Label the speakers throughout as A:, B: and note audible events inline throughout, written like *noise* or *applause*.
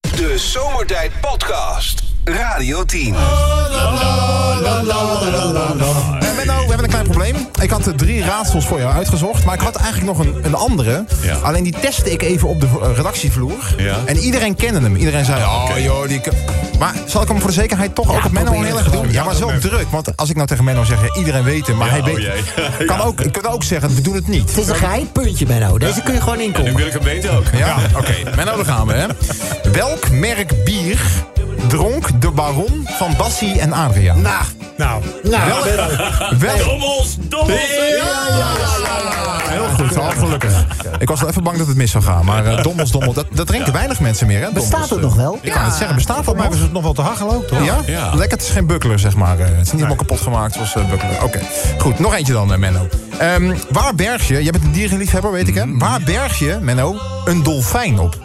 A: De Zomertijd Podcast. Radio 10.
B: Eh, Menno, we hebben een klein probleem. Ik had eh, drie raadsels voor jou uitgezocht, maar ik had eigenlijk nog een, een andere.
C: Ja.
B: Alleen die testte ik even op de vo- eh, redactievloer.
C: Ja.
B: En iedereen kende hem. Iedereen zei, oh
C: oké.
B: joh, die... k- Maar zal ik hem voor de zekerheid toch ook op Menno
C: probeer
B: heel
C: het
B: erg doen?
C: gewoon.
B: Ja,
C: Ja,
B: maar zo
C: dat merk
B: druk. Want als ik nou tegen Menno zeg, ja, iedereen weet hem, maar hij
C: oh
B: weet...
C: jee. *laughs* Ja.
B: Kan ook, ik kan ook zeggen, we doen het niet.
D: Het is een geheim puntje, Benno. Deze kun je gewoon
C: Nu
D: inkomen.
C: wil ik hem weten ook.
B: Ja, oké. Menno, daar gaan we, hè. Welk merk bier dronk de baron van Bassie en Adria?
D: Nou,
E: Nou,
D: nou.
B: Welk
C: Dommels, dommels!
B: Heel goed, al gelukkig. Ik was wel even bang dat het mis zou gaan, maar eh, dommels, dommel, dat, dat drinken weinig mensen meer. Hè, dommels.
D: Bestaat het nog wel?
B: Ik kan het zeggen, bestaat het
E: volgens
B: nog?
E: mij was het nog wel te hachelen ook, toch?
B: Ja?
C: Ja.
B: lekker. Het is geen bukkelen, zeg maar. eh, Het is niet helemaal kapot gemaakt zoals eh, bukkelen. Oké, goed. Nog eentje dan, eh, Menno. Ehm, waar berg je, jij bent een dierenliefhebber, weet ik hè? Waar berg je, Menno, een dolfijn op?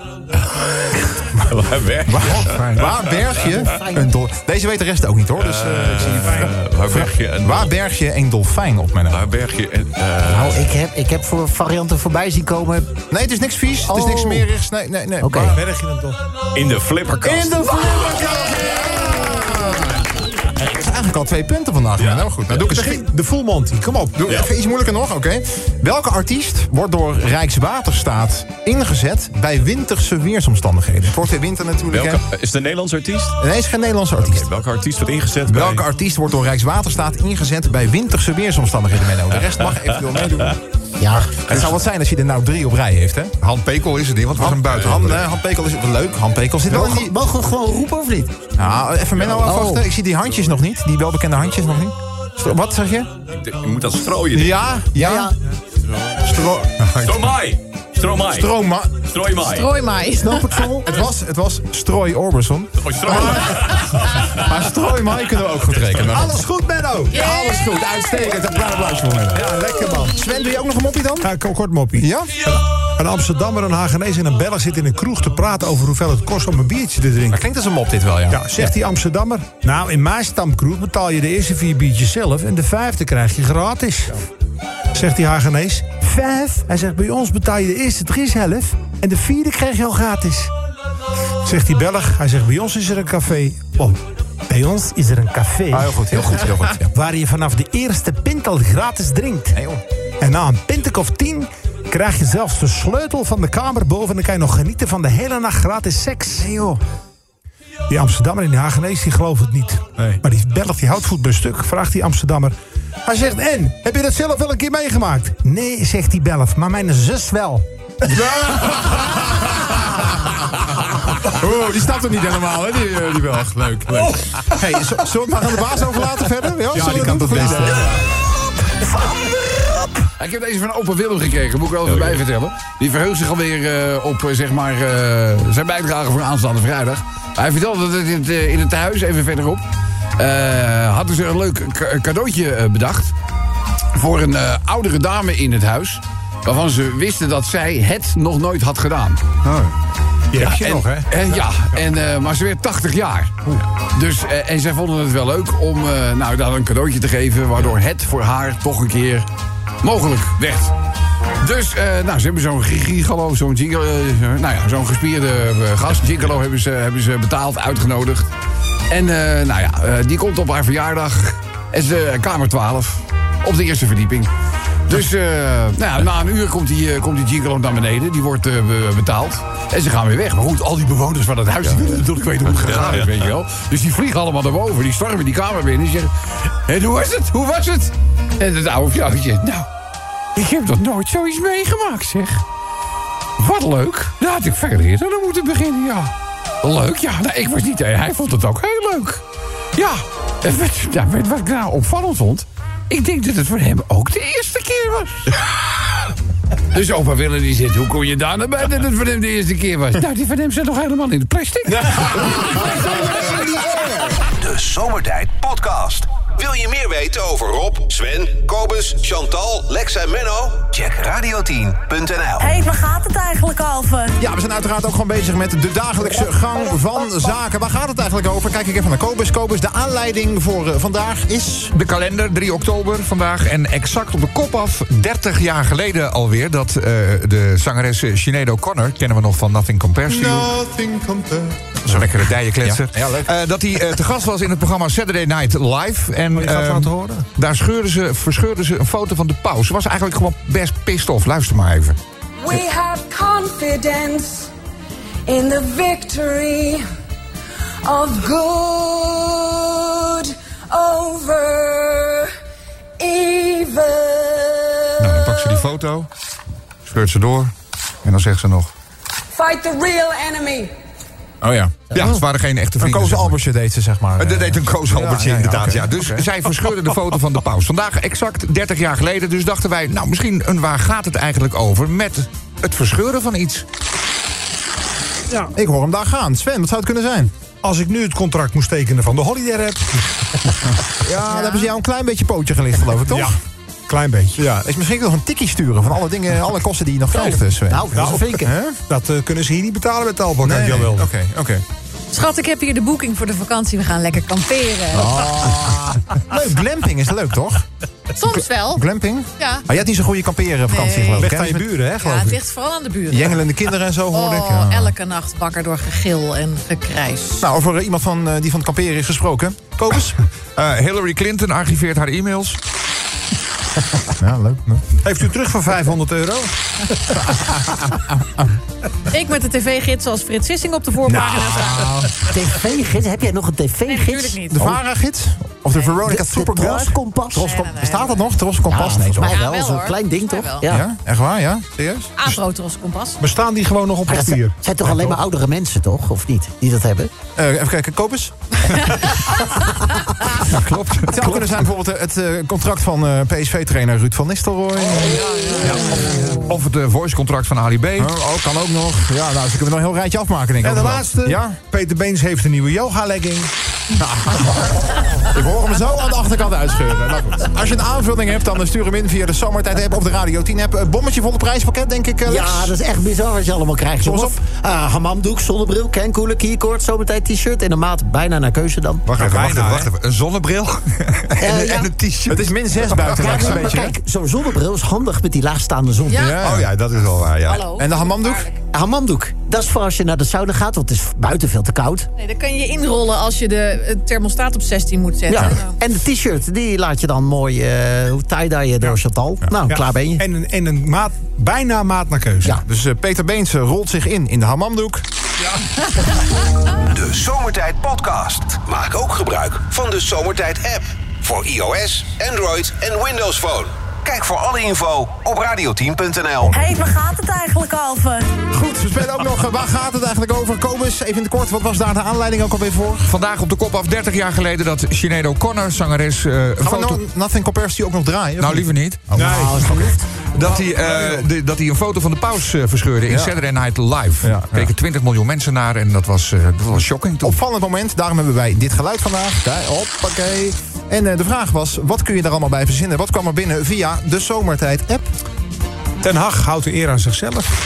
C: Waar weg?
B: Waar, waar berg je een dolfijn? Deze weet de rest ook niet hoor. Dus, eh, ik zie
C: Eh, Waar berg je een...
B: Waar berg je een dolfijn op, Menno?
C: Waar berg je een... eh,
D: Nou, ik heb, ik heb voor varianten voorbij zien komen.
B: Nee, het is niks vies, het is niks
D: Oh.
B: smerigs. Nee, nee, nee.
D: Oké.
B: Waar-
E: Berg je hem toch?
C: in de flipperkast.
B: In de Het is eigenlijk al twee punten vandaag. Maar nou goed, nou doe ik het
E: Begin-
B: schi-
E: De full Monty, kom op.
B: Doe ik
C: Ja.
B: even iets moeilijker nog, oké. Welke artiest wordt door Rijkswaterstaat ingezet bij winterse weersomstandigheden? Het wordt weer winter natuurlijk.
C: Welke,
B: Welke?
C: is het een Nederlands artiest?
B: Nee, het is geen Nederlandse artiest.
C: Welke artiest wordt ingezet bij...
B: Welke artiest wordt door Rijkswaterstaat ingezet bij winterse weersomstandigheden, Menno? De rest mag eventueel meedoen.
D: Ja,
B: Het zou wat zijn als je er nou drie op rij heeft, hè?
F: Han Pekel is het niet, want het was een
B: Han,
F: buitenlander.
B: eh, Han Pekel is wel leuk. Han Pekel zit wel in die...
D: mogen, mogen we gewoon roepen of niet?
B: Ja, Nou, even Menno afwachten.
D: Oh.
B: Ik zie die handjes nog niet. Die welbekende handjes nog niet. Stro- Wat zeg je?
C: Je moet dat strooien.
B: Ja, ja.
D: Ja.
B: Stro
C: Stromaai! Stromaai!
B: Stroma.
C: Strooimaai!
G: Rooi mij.
B: Snap het vol? Het was, het was Strooi Orbison.
C: Oh, strooimaai.
B: Maar Strooi Mai kunnen we ook goed rekenen. Alles goed, Menno. Alles goed, uitstekend. Een klein applaus voor Menno. Ja, lekker man. Sven, doe je ook nog een moppie dan?
E: Ja, kom kort moppie.
B: Ja?
E: Een Amsterdammer, een Hagenees en een Belg zitten in een kroeg te praten over hoeveel het kost om een biertje te drinken.
B: Maar klinkt als een mop dit wel, ja.
E: Ja, zegt die Amsterdammer. Nou, in mijn stamkroeg betaal je de eerste vier biertjes zelf en de vijfde krijg je gratis. Zegt die Hagenees. Vijf? Hij zegt, bij ons betaal je de eerste drie zelf en de vierde krijg je al gratis. Zegt die Belg. Hij zegt, bij ons is er een café. Oh, bij ons is er een café
B: Ah, heel goed, heel goed, heel goed. Ja.
E: waar je vanaf de eerste pint al gratis drinkt.
B: Nee, joh.
E: En na een pintek of tien krijg je zelfs de sleutel van de kamer boven... en dan kan je nog genieten van de hele nacht gratis seks. Die Amsterdammer in de Hagenees, die gelooft het niet.
B: Nee.
E: Maar die Belg, die houdt voet bij stuk, vraagt die Amsterdammer. Hij zegt, en, heb je dat zelf wel een keer meegemaakt? Nee, zegt die Belg, maar mijn zus wel.
B: *laughs* Oh, die snapt het niet helemaal, hè? Die, eh, die Belg. Leuk,
E: Oh.
B: leuk. Hey, z- zullen we het maar aan de baas overlaten verder? Ja, zullen we
F: die
B: dat
F: kan
B: doen?
F: het beste.
B: Goed, ja.
F: Ik heb deze van Opa Willem gekregen, moet ik wel
E: Oh,
F: even bij vertellen. Die verheugt zich alweer eh, op eh, zeg maar, eh, zijn bijdrage voor aanstaande vrijdag. Hij vertelde dat het in het, eh, in het thuis, even verderop, eh hadden ze een leuk ka- cadeautje eh, bedacht. Voor een eh, oudere dame in het huis. Waarvan ze wisten dat zij het nog nooit had gedaan.
B: Oh.
E: Die heb je nog, hè? Oh,
F: En, ja, en, eh, maar ze werd 80 jaar. Dus, eh, en zij vonden het wel leuk om eh nou, daar een cadeautje te geven... waardoor het voor haar toch een keer mogelijk werd. Dus eh, nou, ze hebben zo'n gi- gigolo, zo'n gigolo, eh, nou ja, zo'n gespierde eh, gast. Gigolo hebben ze, hebben ze betaald, uitgenodigd. En eh, nou ja, eh, die komt op haar verjaardag. En ze, eh, kamer 12, op de eerste verdieping. Dus eh, nou ja, na een uur komt die, eh, komt die gigolo naar beneden. Die wordt eh, be- betaald. En ze gaan weer weg. Maar goed, al die bewoners van het huis die willen natuurlijk weten hoe het gegaan is, weet je wel. Dus die vliegen allemaal naar boven. Die stormen die kamer binnen. En zeggen, en hoe was het? Hoe was het? En het oude vrouwtje, nou, ik heb nog nooit zoiets meegemaakt, zeg. Wat leuk. Daar had ik verder eerder aan moeten beginnen, ja. Leuk, ja. Nou, ik was niet... Hij vond het ook heel leuk. Ja. En weet, je- nou, weet je wat ik nou opvallend vond? Ik denk dat het voor hem ook de eerste keer *laughs* was. Dus opa Willem die zit, hoe kon je daar nou bij dat het voor hem de eerste keer was? Nou, die van hem zit nog helemaal in de plastic.
A: De Zomertijd Podcast. Wil je meer weten over Rob, Sven, Kobus, Chantal, Lex en Menno? Check radio10.nl.
H: Hé, hey, waar gaat het eigenlijk over?
B: Ja, we zijn uiteraard ook gewoon bezig met de dagelijkse gang van zaken. Waar gaat het eigenlijk over? Kijk ik even naar Kobus. Kobus, de aanleiding voor eh, vandaag is...
F: De kalender, 3 oktober vandaag. En exact op de kop af, 30 jaar geleden alweer... dat eh, de zangeres Sinead O'Connor, kennen we nog van Nothing Compares to You...
B: Nothing compared.
F: Zo'n lekkere dijenkletser.
B: Ja. Ja, leuk.
F: Eh, dat hij eh, te gast was in het programma Saturday Night Live. En
I: je gaat
F: eh,
I: laten horen.
F: daar scheurden ze, verscheurden ze een foto van de paus. Ze was eigenlijk gewoon best pissed off. Luister maar even.
J: We have confidence in the victory of good over
F: Nou, dan
J: evil.
F: pakt ze die foto, scheurt ze door en dan zegt ze nog...
J: Fight the real enemy.
F: Oh ja. Ja, het waren geen echte
B: Een Koos
F: vrienden. zeg maar.
B: Albertje deed ze, zeg maar.
F: Eh, Dat deed een Koos Albertje
B: ja, ja,
F: inderdaad,
B: oké.
F: ja. Dus zij verscheurde de foto van de paus. Vandaag exact 30 jaar geleden, dus dachten wij... nou, misschien een waar gaat het eigenlijk over met het verscheuren van iets?
B: Ik hoor hem daar gaan. Sven, wat zou het kunnen zijn?
I: Als ik nu het contract moest tekenen van de Holiday Rap.
B: *laughs* Ja, daar hebben ze jou een klein beetje pootje gelicht, geloof ik, toch?
I: Ja, klein beetje.
B: Ja, is misschien nog een tikkie sturen van alle dingen, alle kosten die je nog krijgt, eh, Sven.
E: Nou, dat is een vinken.
B: Hè?
I: Dat eh, kunnen ze hier niet betalen met Talbot.
B: Nee, nee,
I: jawel.
B: Oké, oké.
H: Schat, ik heb hier de boeking voor de vakantie. We gaan lekker kamperen.
E: Oh,
B: Leuk, glamping is leuk, toch?
H: Soms wel.
B: Glamping?
H: Ja.
B: Maar je had niet zo'n goede kamperenvakantie,
H: Nee.
B: geloof ik.
I: Weg
B: hè?
I: aan je
B: Met
I: buren, hè,
H: Ja,
I: geloof
H: het
I: ik.
H: ligt vooral aan de buren.
B: Jengelende kinderen en zo, hoorde ik.
H: Oh,
B: ja.
H: elke nacht wakker door gegil en gekrijs.
B: Nou, over eh, iemand van, eh, die van het kamperen is gesproken. *laughs* Kobus?
F: Eh, Hillary Clinton archiveert haar e-mails.
B: *laughs* ja, leuk. leuk.
I: Heeft u terug voor 500 euro?
H: Ik met de tv-gids als Frits Sissing op de
B: Nou.
H: voorpagina
E: Nou.
H: staan.
E: TV-gids? Heb jij nog een
H: Nee, natuurlijk
E: tv-gids? Oh,
H: niet.
B: De VARA-gids? Of Oh. de Veronica
E: De- de
B: Supergirls?
E: Troskompas?
B: Troskom-
H: Nee, nee, nee,
B: Bestaat dat
H: nee.
B: nog? Troskompas?
E: Ja,
B: nee,
E: volgens
B: toch?
E: mij
H: Ja,
E: wel.
H: wel,
E: Zo'n
H: hoor.
E: klein ding,
H: Volgens
E: toch?
H: mij
E: Ja.
H: wel.
B: Ja, echt waar, ja? Serieus?
H: Afrotros kompas.
I: Bestaan die gewoon nog op
E: Maar dat zijn,
I: papier?
E: zijn toch alleen maar oudere mensen, toch? Of niet? Die dat hebben?
B: Eh, even kijken, *laughs* Kobus?
F: Klopt.
B: Het zou kunnen zijn bijvoorbeeld eh, het eh, contract van PSV-trainer Ruud van Nistelrooy.
F: Of het eh, voice-contract van Ali B.
B: Oh, oh, kan ook nog. Ja, nou, ze kunnen we nog een heel rijtje afmaken, denk ik.
I: En de
B: ook wel.
I: laatste.
B: Ja? Nou.
I: Peter Beens heeft een nieuwe yoga-legging.
B: Ik hoor hem zo aan de achterkant uitscheuren. Nou goed. Als je een aanvulling hebt, dan eh, stuur hem in via de Zomertijd-app op de Radio 10-app. Een bommetje vol de prijspakket, denk ik, eh, Lex.
E: Ja, dat is echt bizar wat je allemaal krijgt.
B: Soms
E: jongens. Eh, hamamdoek, zonnebril, kenkoelen, keycord, zometeen t-shirt. En een maat bijna naar keuze dan.
F: Wacht even, wacht
I: bijna,
F: even, wacht even. Een zonnebril en,
E: Eh,
F: een-
E: ja.
F: en een t-shirt.
B: Het is min 6 buiten,
E: Ja,
B: Lex,
E: nee,
B: een
E: maar
B: beetje. hè?
E: kijk, zo'n zonnebril is handig met die laagstaande zon.
H: Ja.
F: Oh ja, dat is wel waar, ja.
H: Hallo.
B: En de hamamdoek?
E: Hamamdoek, dat is voor als je naar de sauna gaat, want het is buiten veel te koud.
H: Nee, dat kan je inrollen als je de eh, thermostaat op 16 moet zetten.
E: Ja.
H: Nou,
E: En de t-shirt, die laat je dan mooi eh tie-dye door Chantal. Nou,
I: Ja.
E: klaar ben je.
I: En een, en een maat, bijna maat naar keuze.
E: Ja.
B: Dus eh, Peter Beens eh, rolt zich in in de hamamdoek.
A: De Zomertijd Podcast. Maak ook gebruik van de Zomertijd app. Voor iOS, Android en Windows Phone. Kijk voor alle info op radio10.nl.
K: Hé, hey, waar gaat het eigenlijk over?
B: Goed, we spelen ook nog. eh, Waar gaat het eigenlijk over? Kobus, even in het kort. Wat was daar de aanleiding ook alweer voor?
F: Vandaag op de kop af, 30 jaar geleden, dat Sinead O'Connor, zangeres... eh, een
B: Gaan we
F: foto...
B: nou Nothing Compares die ook nog draaien? of Oh, nou,
F: Nou, liever niet.
I: Nee.
F: Dat
I: Nou,
F: hij, eh, de- dat hij een foto van de paus eh, verscheurde in Saturday Night Live.
B: Ja, ja.
F: Daar keken 20 miljoen mensen naar en dat was, eh, dat was shocking toen.
B: Opvallend moment, daarom hebben wij dit geluid vandaag. Kijk, hoppakee. En eh, de vraag was, wat kun je daar allemaal bij verzinnen? Wat kwam er binnen via de Zomertijd-app?
I: Ten Hag houdt de eer aan zichzelf.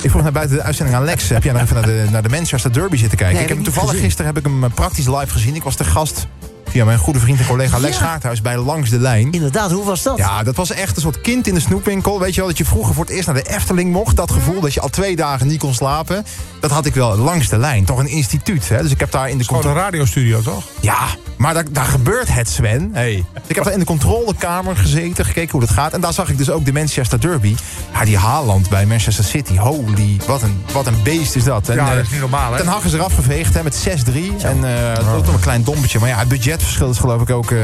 B: Ik vroeg naar buiten de uitzending aan Lex. Heb jij nog even naar de, naar de Manchester Derby zitten kijken?
E: Nee,
B: ik heb
E: heb
B: hem
E: ik niet
B: toevallig
E: gezien.
B: gisteren heb ik hem eh, praktisch live gezien. Ik was te gast via mijn goede vriend en collega Lex Gaarthuis bij Langs de Lijn.
E: Inderdaad, hoe was dat?
B: Ja, dat was echt een soort kind in de snoepwinkel. Weet je wel, dat je vroeger voor het eerst naar de Efteling mocht. Dat gevoel dat je al twee dagen niet kon slapen. Dat had ik wel langs de lijn. Toch een instituut, hè? Dus ik heb daar in de...
I: Gewoon
B: contro-
I: een radiostudio, toch?
B: Ja, maar daar, daar gebeurt het, Sven. Hey. Ik heb daar in de controlekamer gezeten, gekeken hoe dat gaat. En daar zag ik dus ook de Manchester Derby. Ja, die Haaland bij Manchester City. Holy, wat een, wat een beest is dat. En,
I: Ja, dat is
B: eh,
I: niet normaal, hè?
B: Ten Hag is eraf geveegd hè, met 6-3. En eh dat was nog een klein dompetje. Maar ja, het budgetverschil is geloof ik ook... eh,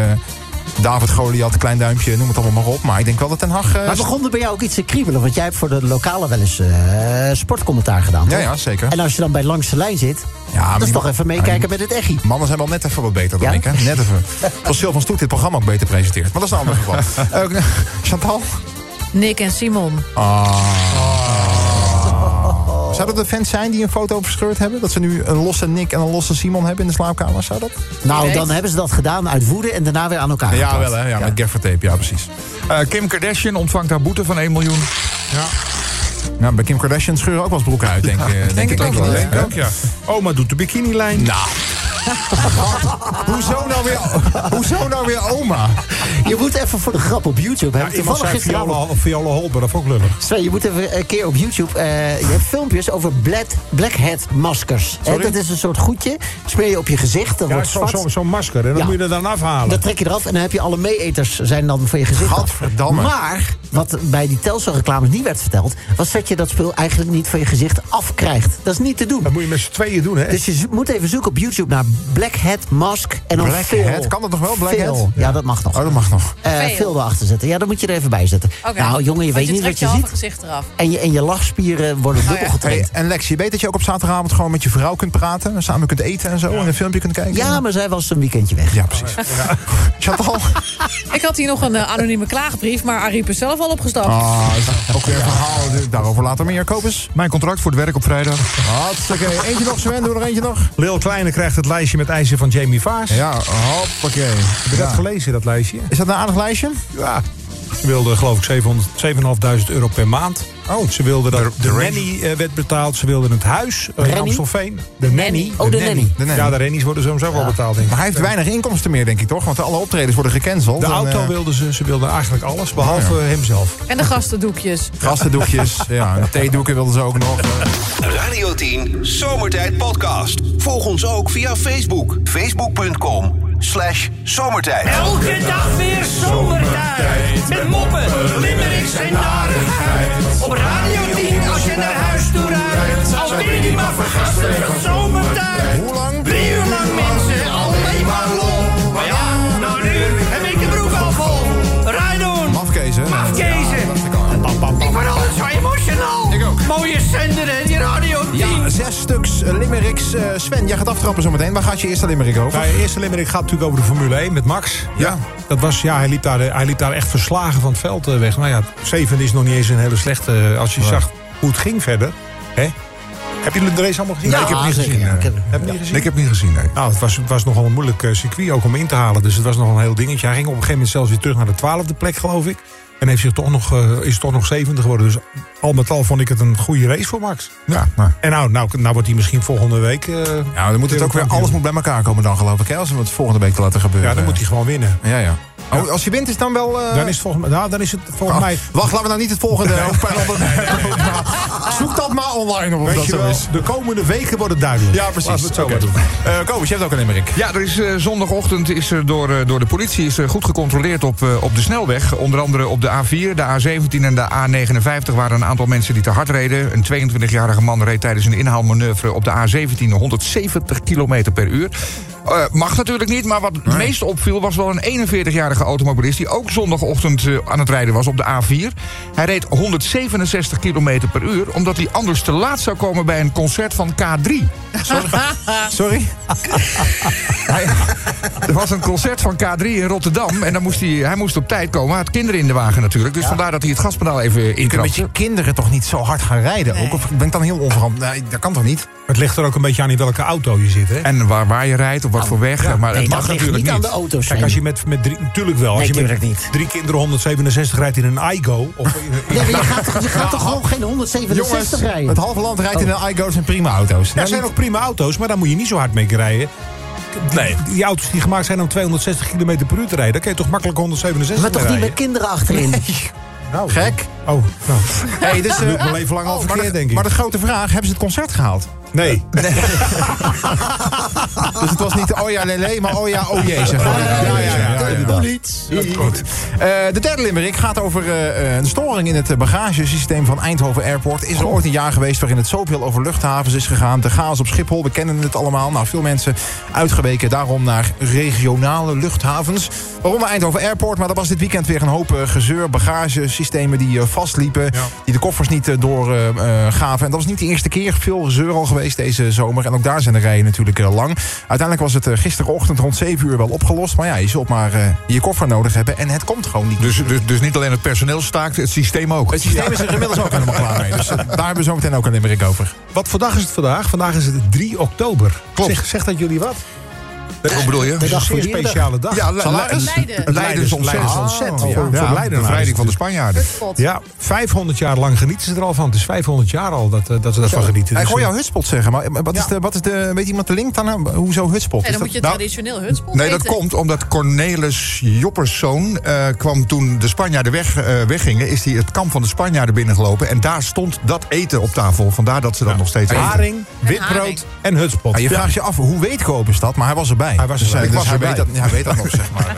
B: David Goliath, klein duimpje, noem het allemaal maar op. Maar ik denk wel dat Ten Hag... eh,
E: Maar begon er bij jou ook iets te kriebelen? Want jij hebt voor de lokale wel eens eh, sportcommentaar gedaan.
B: Ja,
E: toch?
B: ja, zeker.
E: En als je dan bij langs de lijn zit,
B: maar
E: dat is
B: die-
E: toch even meekijken met het echi.
B: Mannen zijn wel net even wat beter dan
E: Ja?
B: ik, hè? Net
I: *laughs*
B: even. Als Sil van Stoet dit programma ook beter presenteert. Maar dat is een ander geval.
I: *laughs*
B: Eh, Chantal?
H: Nick en Simon.
E: Oh,
B: Ah. Zou dat de fans zijn die een foto verscheurd hebben? Dat ze nu een losse Nick en een losse Simon hebben in de slaapkamer? Zou dat?
E: Nou,
H: weet.
E: dan hebben ze dat gedaan uit woede en daarna weer aan elkaar
B: Ja,
E: geplakt.
B: wel hè. Ja, met gaffertape. Ja, precies.
F: Eh, Kim Kardashian ontvangt haar boete van 1 miljoen.
B: Nou, bij Kim *laughs* Kardashian scheuren ook wel eens broeken uit, eh, denk, ik. denk, ik.
F: het ook
B: ik
F: wel,
B: wel,
F: hè?
B: hè?
I: Dank ja. Oma doet de bikinilijn.
B: Nou. *laughs* Hoezo nou weer, hoezo nou weer oma?
E: Je moet even voor de grap op YouTube. Heb ik
I: iemand
E: toevallig
I: zei
E: gisteravond-
I: Viola, Viola Holber, dat vond ik lullig.
E: Sven, je moet even een keer op YouTube. eh, je hebt filmpjes over black, blackhead maskers. Hè,
I: Sorry?
E: dat is een soort goedje. Smeer je op je gezicht, dan
I: Ja,
E: wordt het
I: zo'n
E: zwart.
I: zo, zo'n masker. En dat
E: Ja.
I: moet je er dan afhalen.
E: Dat trek je eraf en dan heb je alle meeeters zijn dan van je gezicht. af.
B: Gadverdamme.
E: Maar wat bij die Telcel-reclames niet werd verteld... was dat je dat spul eigenlijk niet van je gezicht afkrijgt. Dat is niet te doen.
I: Dat moet je met z'n tweeën doen, hè?
E: Dus je zo- moet even zoeken op YouTube naar Black Hat Mask en dan
B: Black
E: veel.
B: Hat? Kan dat nog wel, Black
E: veel.
B: Hat?
E: Ja, dat mag nog.
B: Oh, dat mag nog.
E: Eh,
H: Veel.
E: veel erachter zetten. Ja, dat moet je er even bij zetten.
H: Oké.
E: Nou, jongen, je
H: Want
E: weet niet wat
H: trekt Oh
E: je
H: halve
E: ziet.
H: gezicht eraf.
E: En je, en je lachspieren worden dubbel
B: Hey,
E: getraind.
B: en Lex, je weet dat je ook op zaterdagavond gewoon met je vrouw kunt praten. en Samen kunt eten en zo. En een filmpje kunt kijken.
E: Ja, maar zij was een weekendje weg.
B: Ja, precies. Chantal.
H: Ik had hier nog een eh, anonieme klaagbrief, maar Ariep is zelf al opgestapt.
E: Oh.
B: Ah, ook weer een verhaal. Daarover later meer, Kopers.
F: Mijn contract voor het werk op vrijdag.
B: Hartstikke. Eentje nog, Sven. Doe er eentje nog.
I: Lil Kleine krijgt het lijstje met eisen van Jamie Vaas.
B: Ja, hoppakee.
I: Heb je dat
B: Ja.
I: gelezen, dat lijstje?
B: Is dat een aardig lijstje?
I: Ja. Ze wilde geloof ik 700 7.500 euro per maand. Oh. Ze wilde dat de, nanny eh, werd betaald. Ze wilde het huis eh, in
E: Rennie?
I: Amstelveen. De nanny.
E: Oh, de nanny.
B: De nanny.
I: Ja, de rennies worden sowieso wel betaald. Denk ik.
B: Maar hij heeft weinig inkomsten meer, denk ik, toch? Want alle optredens worden gecanceld.
I: De
B: En,
I: auto
B: eh,
I: wilde ze. Ze wilde eigenlijk alles, behalve hemzelf.
H: En de gastendoekjes.
E: Oh.
B: Gastendoekjes, ja, en theedoeken wilden ze ook nog.
A: Radio 10 Zomertijd Podcast. Volg ons ook via Facebook. Facebook.com slash zomertijd.
L: Elke dag weer zomertijd. Met moppen, limericks en narigheid. Op Radio 10 als je naar huis toe rijdt. Alweer die maar vergasten van zomertijd.
B: Hoe lang?
L: Drie uur lang mensen, alleen maar lol. Maar ja, na een uur heb ik de broek al vol. Rijdoen,
B: Afkezen.
L: afkezen. Ik word altijd zo emotional.
B: Ik ook.
L: Mooie zender hè, die Radio 10.
B: Ja, zes stuks eh, limericks. Eh, Sven, jij gaat aftrappen zometeen. Waar gaat je eerste limerick over?
I: Nou, je eerste limmering gaat natuurlijk over de Formule 1 met Max.
B: Ja.
I: Dat was, ja, hij liep daar, eh, hij liep daar echt verslagen van het veld eh, weg. Nou ja, zeven is nog niet eens een hele slechte. eh, Als je zag hoe het ging verder. Hè? Heb je de race allemaal gezien?
E: Ja,
I: Nee, ik heb het niet
E: zeker.
I: gezien. eh.
E: Ik heb-
I: heb je niet gezien?
F: Ik heb niet gezien, nee.
I: Nou, het was, het was nogal een moeilijk eh, circuit ook om in te halen. Dus het was nogal een heel dingetje. Hij ging op een gegeven moment zelfs weer terug naar de twaalfde plek, geloof ik. En heeft zich toch nog, eh, is toch nog zevende geworden. Dus al met al vond ik het een goede race voor Max.
B: Ja, maar...
I: En nou, nou, nou wordt hij misschien volgende week... eh,
B: Ja, dan moet het ook weer,
I: wereldkampioen.
B: alles moet bij elkaar komen dan, geloof ik. Hè? Als we het volgende week te laten gebeuren.
I: Ja, dan moet hij gewoon winnen.
B: Ja, ja. Oh, als je wint is dan wel... eh,
I: Dan is, het volgens, mij- nou, dan is het volgens
B: oh,
I: mij... Nou,
B: Wacht, laten we nou niet het volgende onderwerp
I: *laughs*
B: opnemen. Zoek dat maar online op of dat
I: Weet je
B: zo
I: wel,
B: is.
I: de komende weken worden duidelijk.
B: Ja, precies.
I: Laten we het zo
B: Oké.
I: maar doen.
B: Eh, Kobus, je hebt ook een limerick.
F: Ja, er is, eh, zondagochtend is er door, eh, door de politie is er goed gecontroleerd op, eh, op de snelweg. Onder andere op de A4, de A17 en de A59 waren een aantal mensen die te hard reden. Een 22-jarige man reed tijdens een inhaalmanoeuvre op de A17 170 km per uur. Eh, mag natuurlijk niet, maar wat het meest opviel was wel een 41-jarige automobilist... die ook zondagochtend eh, aan het rijden was op de A4. Hij reed 167 km per uur... omdat hij anders te laat zou komen bij een concert van K3.
B: Sorry?
F: Hij- *laughs* er was een concert van K3 in Rotterdam. En dan moest hij, hij moest op tijd komen. Hij had kinderen in de wagen natuurlijk. Dus vandaar dat hij het gaspedaal even
B: Je kunt met
F: inkrapte.
B: je kinderen toch niet zo hard gaan rijden? Ook, of ben ik dan heel onverantwoord? Nee, dat kan toch niet?
I: Het ligt er ook een beetje aan in welke auto je zit, hè?
F: En waar, waar je rijdt, op wat voor weg. maar
E: Nee,
F: het mag
E: dat ligt
F: natuurlijk
E: niet
F: niet.
E: aan de auto's.
I: Kijk, als je met, met drie... Natuurlijk wel. Als
E: Nee,
I: je met
E: tuurlijk niet.
I: drie kinderen 167 rijdt in een iGo... Of in, in-
E: Nee, maar je
B: *laughs*
E: gaat, je gaat toch gewoon geen 167
B: Nou, Jongens,
E: rijden? Oh.
B: het halve land rijdt in een iGo's en prima auto's.
I: Ja, er zijn ook prima auto's, maar daar moet je niet zo hard mee rijden. Nee. Die auto's die gemaakt zijn om 260 km per uur te rijden, daar kun je toch makkelijk 167
E: maar toch
I: mee
E: niet met
I: rijden?
E: kinderen achterin?
I: Nou,
B: Gek.
I: Oh, nou.
B: Hey, dus,
I: doe
E: eh, oh,
I: ik wel even lang al verkeerd,
B: maar, de,
I: denk ik.
B: maar de grote vraag, hebben ze het concert gehaald?
I: Nee.
B: *laughs* Dus het was niet oh ja lele, maar oh ja oh jee. Zeg maar. ja, ja, ja, ja, ja. Goed. Eh, de derde limerick gaat over eh, eh, een storing in het eh, bagagesysteem van Eindhoven Airport. Is er ooit een jaar geweest waarin het zoveel over luchthavens is gegaan? De chaos op Schiphol, we kennen het allemaal. Nou, veel mensen uitgeweken daarom naar regionale luchthavens. Waaronder Eindhoven Airport, maar er was dit weekend weer een hoop eh, gezeur. Bagagesystemen die eh, vastliepen, die de koffers niet eh, doorgaven. En dat was niet de eerste keer. Veel gezeur al geweest deze zomer. En ook daar zijn de rijen natuurlijk eh, lang. Uiteindelijk was het eh, gisterochtend rond 7 uur wel opgelost. Maar ja, je zult maar eh, je koffer nodig hebben. En het komt gewoon niet.
F: Dus, dus, dus niet alleen het personeel staakt, het systeem ook.
B: Het systeem is er inmiddels ook helemaal klaar mee. Dus eh, daar hebben we zo meteen ook een limerick over.
I: Wat voor dag is het vandaag? Vandaag is het 3 oktober.
B: Klopt.
I: Zeg, zegt dat jullie wat?
F: Wat bedoel je?
I: Dat is een zeer
B: eh,
I: speciale dag.
F: Ja, Le-
I: Salaris?
F: Le- Leiden. Leiden is
I: ontzettend.
F: ontzettend. Ah,
I: Voor,
F: Ja.
I: voor
F: Ja,
I: Leidenaars
F: bevrijding van de
I: natuurlijk.
F: Spanjaarden.
I: Ja, 500 jaar lang genieten ze er al van. Het is 500 jaar al dat, eh, dat ze daarvan genieten.
B: Ik
I: Dus,
B: hoor
I: eh,
B: jou hutspot zeggen, maar wat is de, wat is de, weet iemand de link dan? Hoezo hutspot?
H: Nee, dan moet je
B: nou-
H: traditioneel hutspot
F: Nee, dat
H: eten.
F: komt omdat Cornelis Jopperszoon eh, kwam toen de Spanjaarden weg, eh, weggingen... is hij het kamp van de Spanjaarden binnengelopen. En daar stond dat eten op tafel. Vandaar dat ze dat nog steeds eten.
I: Haring,
H: haring.
I: witbrood en hutspot.
B: Ah, Ja, je vraagt je af, hoe weet Kobus dat? Maar hij was erbij.
I: Hij was
B: Dus,
I: erbij.
B: eh,
I: Ik
B: dus
I: was
B: hij,
I: erbij.
B: Weet dat, hij weet dat nog, zeg maar.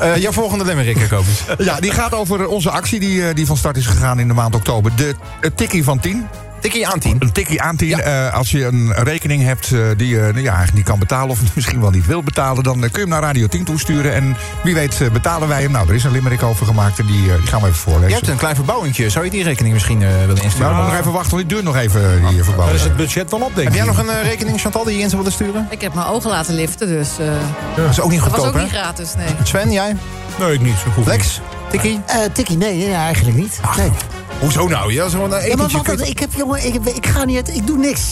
B: Eh, eh, jouw volgende limerick, Kobus.
F: *laughs* Ja, die gaat over onze actie die, eh, die van start is gegaan in de maand oktober. De, het tikkie van 10.
B: Tikkie aan tien.
F: Een tikkie aan 10. Eh, als je een rekening hebt eh, die je nou ja, eigenlijk niet kan betalen... of *laughs* misschien wel niet wil betalen, dan eh, kun je hem naar Radio 10 toesturen. En wie weet eh, betalen wij hem. Nou, er is een limerick over gemaakt en die, eh, die gaan we even
B: Je
F: voorlezen.
B: hebt een klein verbouwingje. Zou je die rekening misschien eh, willen
F: Nou,
B: insturen?
F: dan moet nog even wachten, want die duurt nog even eh, die eh,
I: Dan
F: verbouwing.
I: is het budget wel op, denk
B: Heb
I: ik.
B: jij nog een eh, rekening, Chantal, die je in zou willen sturen?
H: Ik heb mijn ogen laten liften, dus eh,
B: Dat is ook niet
H: dat was
B: goedkoop,
H: ook
B: hè?
H: niet gratis, nee.
B: Sven, jij?
I: Nee, ik niet. Zo goed.
B: Lex? Tikkie?
E: Eh tikkie, nee, nee, eigenlijk niet. Nee.
B: Hoezo nou? Ja, zo'n eh,
E: Ja, maar
B: etentje.
E: wat,
B: kun je-
E: ik heb, jongen, ik, heb- ik ga niet, uit- ik doe niks.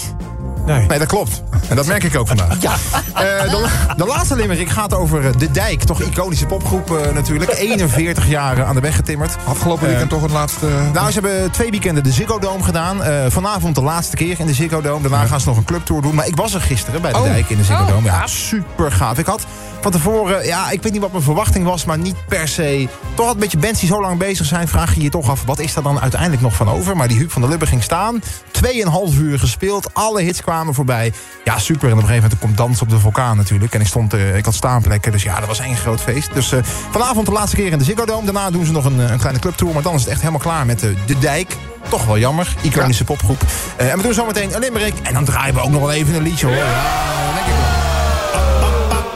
I: Nee.
B: Nee, dat klopt. En dat merk ik ook vandaag.
E: Ja.
H: Ah,
B: Eh, de, la- de laatste limerick gaat over eh, De Dijk. Toch iconische popgroep eh,
H: *laughs*
B: natuurlijk. 41 jaar aan de weg getimmerd. Eh,
F: Afgelopen weekend toch het laatste...
B: Nou, ze hebben twee weekenden de Ziggo Dome gedaan. Eh, vanavond de laatste keer in de Ziggo Dome. Daarna gaan ze nog een clubtour doen. Maar ik was er gisteren bij de
F: Oh.
B: dijk in de Ziggo Dome. Ja, super gaaf. Ik had van tevoren, ja, ik weet niet wat mijn verwachting was, maar niet per se. Toch had een beetje bands die zo lang bezig zijn, vraag je je toch af... wat is daar dan uiteindelijk nog van over? Maar die Huub van der Lubbe ging staan. Tweeënhalf uur gespeeld. Alle hits kwamen voorbij. Ja, super. En op een gegeven moment komt Dans op de Vulkaan natuurlijk. En ik, stond, eh, ik had staanplekken, dus ja, dat was één groot feest. Dus eh, vanavond de laatste keer in de Ziggo Dome. Daarna doen ze nog een, eh, een kleine clubtour. Maar dan is het echt helemaal klaar met eh, De Dijk. Toch wel jammer. Iconische popgroep. Eh, en we doen zometeen een limerick. En dan draaien we ook nog wel even een liedje, hoor.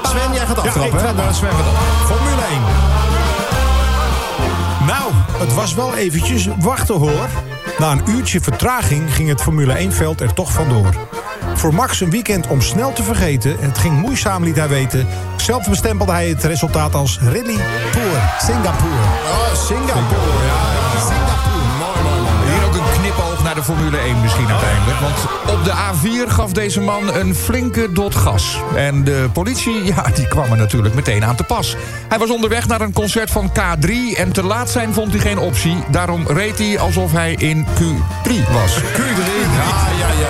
B: Sven, jij gaat
I: Ja, ik
B: aftrappen, hè?
I: trap maar Sven van Dam. Formule 1. Nou, het was wel eventjes wachten hoor. Na een uurtje vertraging ging het Formule 1-veld er toch vandoor. Voor Max een weekend om snel te vergeten. Het ging moeizaam, liet hij weten. Zelf bestempelde hij het resultaat als Rally Tour Singapore.
B: Oh, Singapore. Singapore. Mooi, mooi, mooi.
F: Hier ook een knipoog naar de Formule 1 misschien uiteindelijk. Want op de A4 gaf deze man een flinke dot gas. En de politie, *laughs* ja, die kwam er natuurlijk meteen aan te pas. Hij was onderweg naar een concert van K3 en te laat zijn vond hij geen optie. Daarom reed hij alsof hij in Q3 was.
B: Q3. Ja, ja, ja, ja.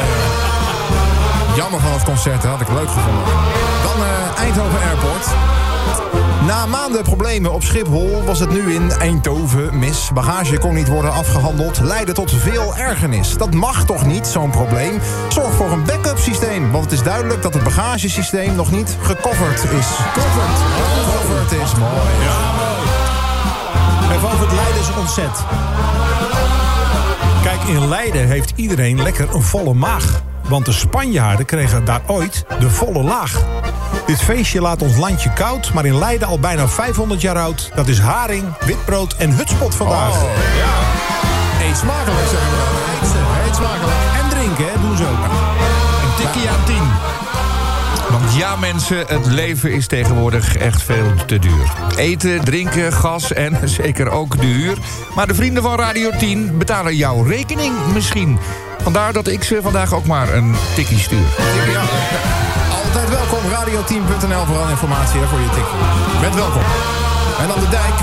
B: Jammer van het concert, hè. had ik leuk gevonden. Dan eh, Eindhoven Airport. Na maanden problemen op Schiphol was het nu in Eindhoven mis. Bagage kon niet worden afgehandeld, leidde tot veel ergernis. Dat mag toch niet, zo'n probleem? Zorg voor een backup systeem, want het is duidelijk dat het bagagesysteem nog niet gecoverd is. Covered. Covered is mooi.
I: En van het Leiden is ontzet. Kijk, in Leiden heeft iedereen lekker een volle maag. Want de Spanjaarden kregen daar ooit de volle laag. Dit feestje laat ons landje koud, maar in Leiden al bijna 500 jaar oud. Dat is haring, witbrood en hutspot vandaag.
B: Eet smakelijk, zeggen we dan. Oh, Eet smakelijk.
I: En drinken, hè, doen ze ook.
F: Een tikkie aan 10. Want ja mensen, het leven is tegenwoordig echt veel te duur. Eten, drinken, gas en *laughs* zeker ook de huur. Maar de vrienden van Radio 10 betalen jouw rekening misschien. Vandaar dat ik ze vandaag ook maar een tikkie stuur.
B: Ja. Altijd welkom, radioteam.nl voor alle informatie en voor je tik. Bent welkom. En dan de dijk.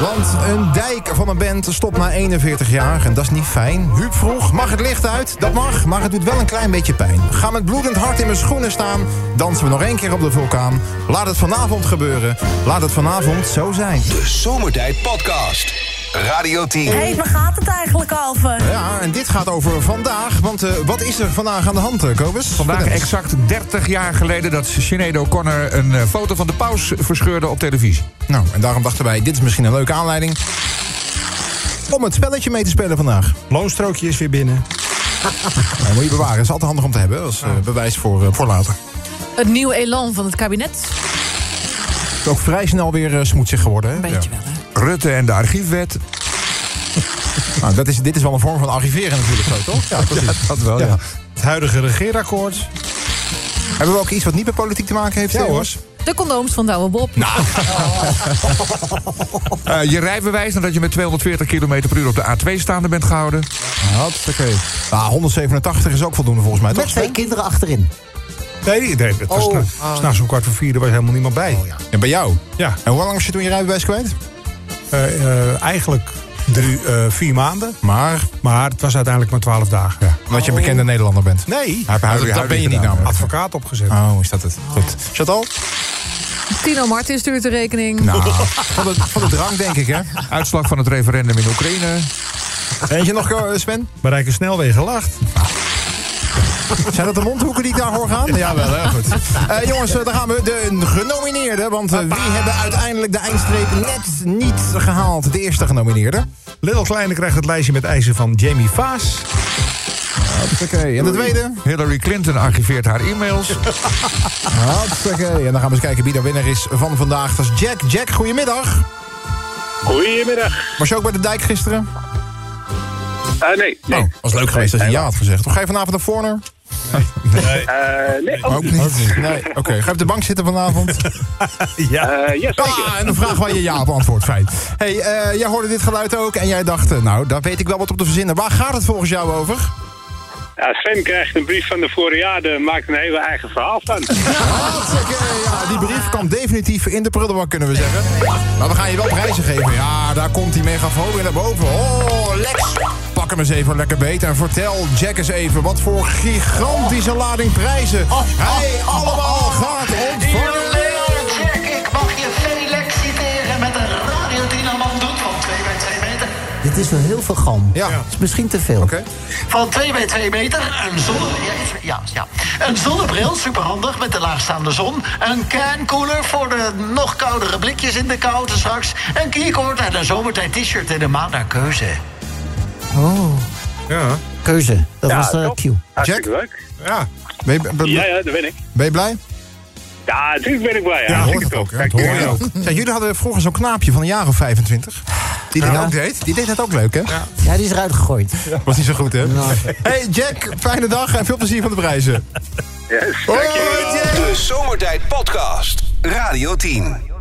B: Want een dijk van een band stopt na 41 jaar en dat is niet fijn. Huub vroeg, mag het licht uit? Dat mag, maar het doet wel een klein beetje pijn. Ga met bloedend hart in mijn schoenen staan. Dansen we nog één keer op de vulkaan. Laat het vanavond gebeuren. Laat het vanavond zo zijn.
A: De Zomertijd Podcast. Radio 10.
K: Hé, hey, waar gaat het eigenlijk over?
B: Ja, en dit gaat over vandaag. Want eh, wat is er vandaag aan de hand, eh, Kobus?
F: Vandaag
B: Vertel eens.
F: exact 30 jaar geleden dat Sinead O'Connor een eh, foto van de paus verscheurde op televisie.
B: Nou, en daarom dachten wij, dit is misschien een leuke aanleiding... om het spelletje mee te spelen vandaag.
I: Loonstrookje is weer binnen.
B: *laughs* Nou, moet je bewaren, is altijd handig om te hebben. als eh, bewijs voor, eh, voor later.
H: Het nieuwe elan van het kabinet.
B: Het is ook vrij snel weer eh, smoetsig geworden. Hè?
H: Een beetje wel, hè?
F: Rutte en de archiefwet.
B: Nou, dat is, dit is wel een vorm van archiveren natuurlijk zo, toch?
F: *laughs*
B: Ja, precies.
F: Dat wel,
B: Ja.
I: Het huidige regeerakkoord.
B: Hebben we ook iets wat niet met politiek te maken heeft,
I: Ja, hoor.
B: jongens?
H: De condooms van Douwe Bob.
F: Eh, je rijbewijs nadat je met 240 km per uur op de A2 staande bent gehouden.
B: Hartstikke. Nou, 187 Ah, is ook voldoende volgens mij,
E: Met
B: toch?
E: twee
B: Sven?
E: kinderen achterin.
F: Nee, die- nee het was
B: Oh,
F: s'nachts
B: ah. Oh,
F: s'nachts om kwart voor vier, er was helemaal niemand bij.
B: En bij jou?
F: Ja. Eh,
B: En hoe lang was je toen je rijbewijs kwijt?
F: eigenlijk drie, eh, vier maanden.
B: Maar?
F: Maar het was uiteindelijk maar twaalf dagen. Ja.
B: Omdat je een bekende Nederlander bent.
F: Nee, Nou,
B: Hij heeft huidige-
F: dat, dat
B: huidige
F: ben je niet
B: gedaan.
F: namelijk. Advocaat opgezet.
B: Oh, is dat het? Goed. Chantal?
H: Tino Martin stuurt de rekening.
B: Nou, *laughs* van de,
F: Ah,
B: van de drang denk *laughs* ik, hè?
M: Uitslag van het referendum in Oekraïne.
B: Eentje nog, eh, Sven?
F: Bereiken snelwegen lacht.
B: *laughs* Zijn dat de mondhoeken die ik daar hoor gaan? Ja, wel, hè? goed. Eh, jongens, eh, daar gaan we. De genomineerden. Want eh, wie hebben uiteindelijk de eindstreep net niet gehaald? De eerste genomineerde.
F: Little Kleine krijgt het lijstje met eisen van Jamie Faas.
B: Oké, en de tweede?
M: Hillary Clinton archiveert haar e-mails.
B: Hartstikke. En dan gaan we eens kijken wie de winnaar is van vandaag. Dat is Jack. Jack, goedemiddag.
C: Goedemiddag.
B: Was je ook bij de dijk gisteren?
C: Eh, nee, nee.
B: Oh, was leuk geweest als je ja had gezegd. Of ga je vanavond naar Forner?
C: Eh, nee, ook,
B: Ook niet. Nee. Oké, ga je op de bank zitten *laughs* vanavond?
C: Ja. ja, zeker.
B: Ah, en dan vragen wij je ja op antwoord, fijn. hey, eh, jij hoorde dit geluid ook en jij dacht... eh, nou, daar weet ik wel wat op te verzinnen. Waar gaat het volgens jou over?
C: Ja, Sven krijgt een brief van de voorjaarde, maakt een hele eigen verhaal van.
B: Hartstikke, ja, Ah, die brief kwam definitief in de prullenbak, kunnen we zeggen. Maar we gaan je wel prijzen geven. Ja, daar komt die megafoon weer naar boven. Oh, Lex, pak hem eens even lekker beet en vertel Jack eens even... wat voor gigantische lading prijzen hij allemaal gaat ontvangen.
L: Jack, ik mag je Felix citeren met een Radio Dynamant doet van 2 bij 2 meter.
E: Dit is wel heel veel galm.
B: Ja.
E: Dat is misschien te veel.
L: Van 2 bij 2 meter, een zonne... Ja, is- ja, ja. Een zonnebril, superhandig, met de laagstaande zon. Een cankoeler voor de nog koudere blikjes in de koude straks. Een keycord en een zomertijd t-shirt in de maand naar keuze.
E: Oh.
F: Ja.
E: Keuze. Dat was de
C: top.
E: Q.
C: Hartstikke leuk.
F: Ja.
B: Ben je, ben-
C: Ja, ja, daar ben ik.
B: ben je blij?
C: Ja, natuurlijk ben ik blij. Ja,
B: hoor
C: Zeker
B: het
C: toch.
B: ook. hè,
C: Kijk,
B: dat hoor
C: eh, *laughs*
B: je ook. Ja, jullie hadden vroeger zo'n knaapje van een jaar of 25. Die dit ook deed. Die deed dat ook leuk, hè?
E: Ja, die is eruit gegooid.
B: Was niet zo goed, hè? Hey Jack, fijne dag en veel plezier van de prijzen.
C: yes,
B: Hoi,
C: dankjewel.
B: Jack.
A: De Zomertijd Podcast. Radio 10.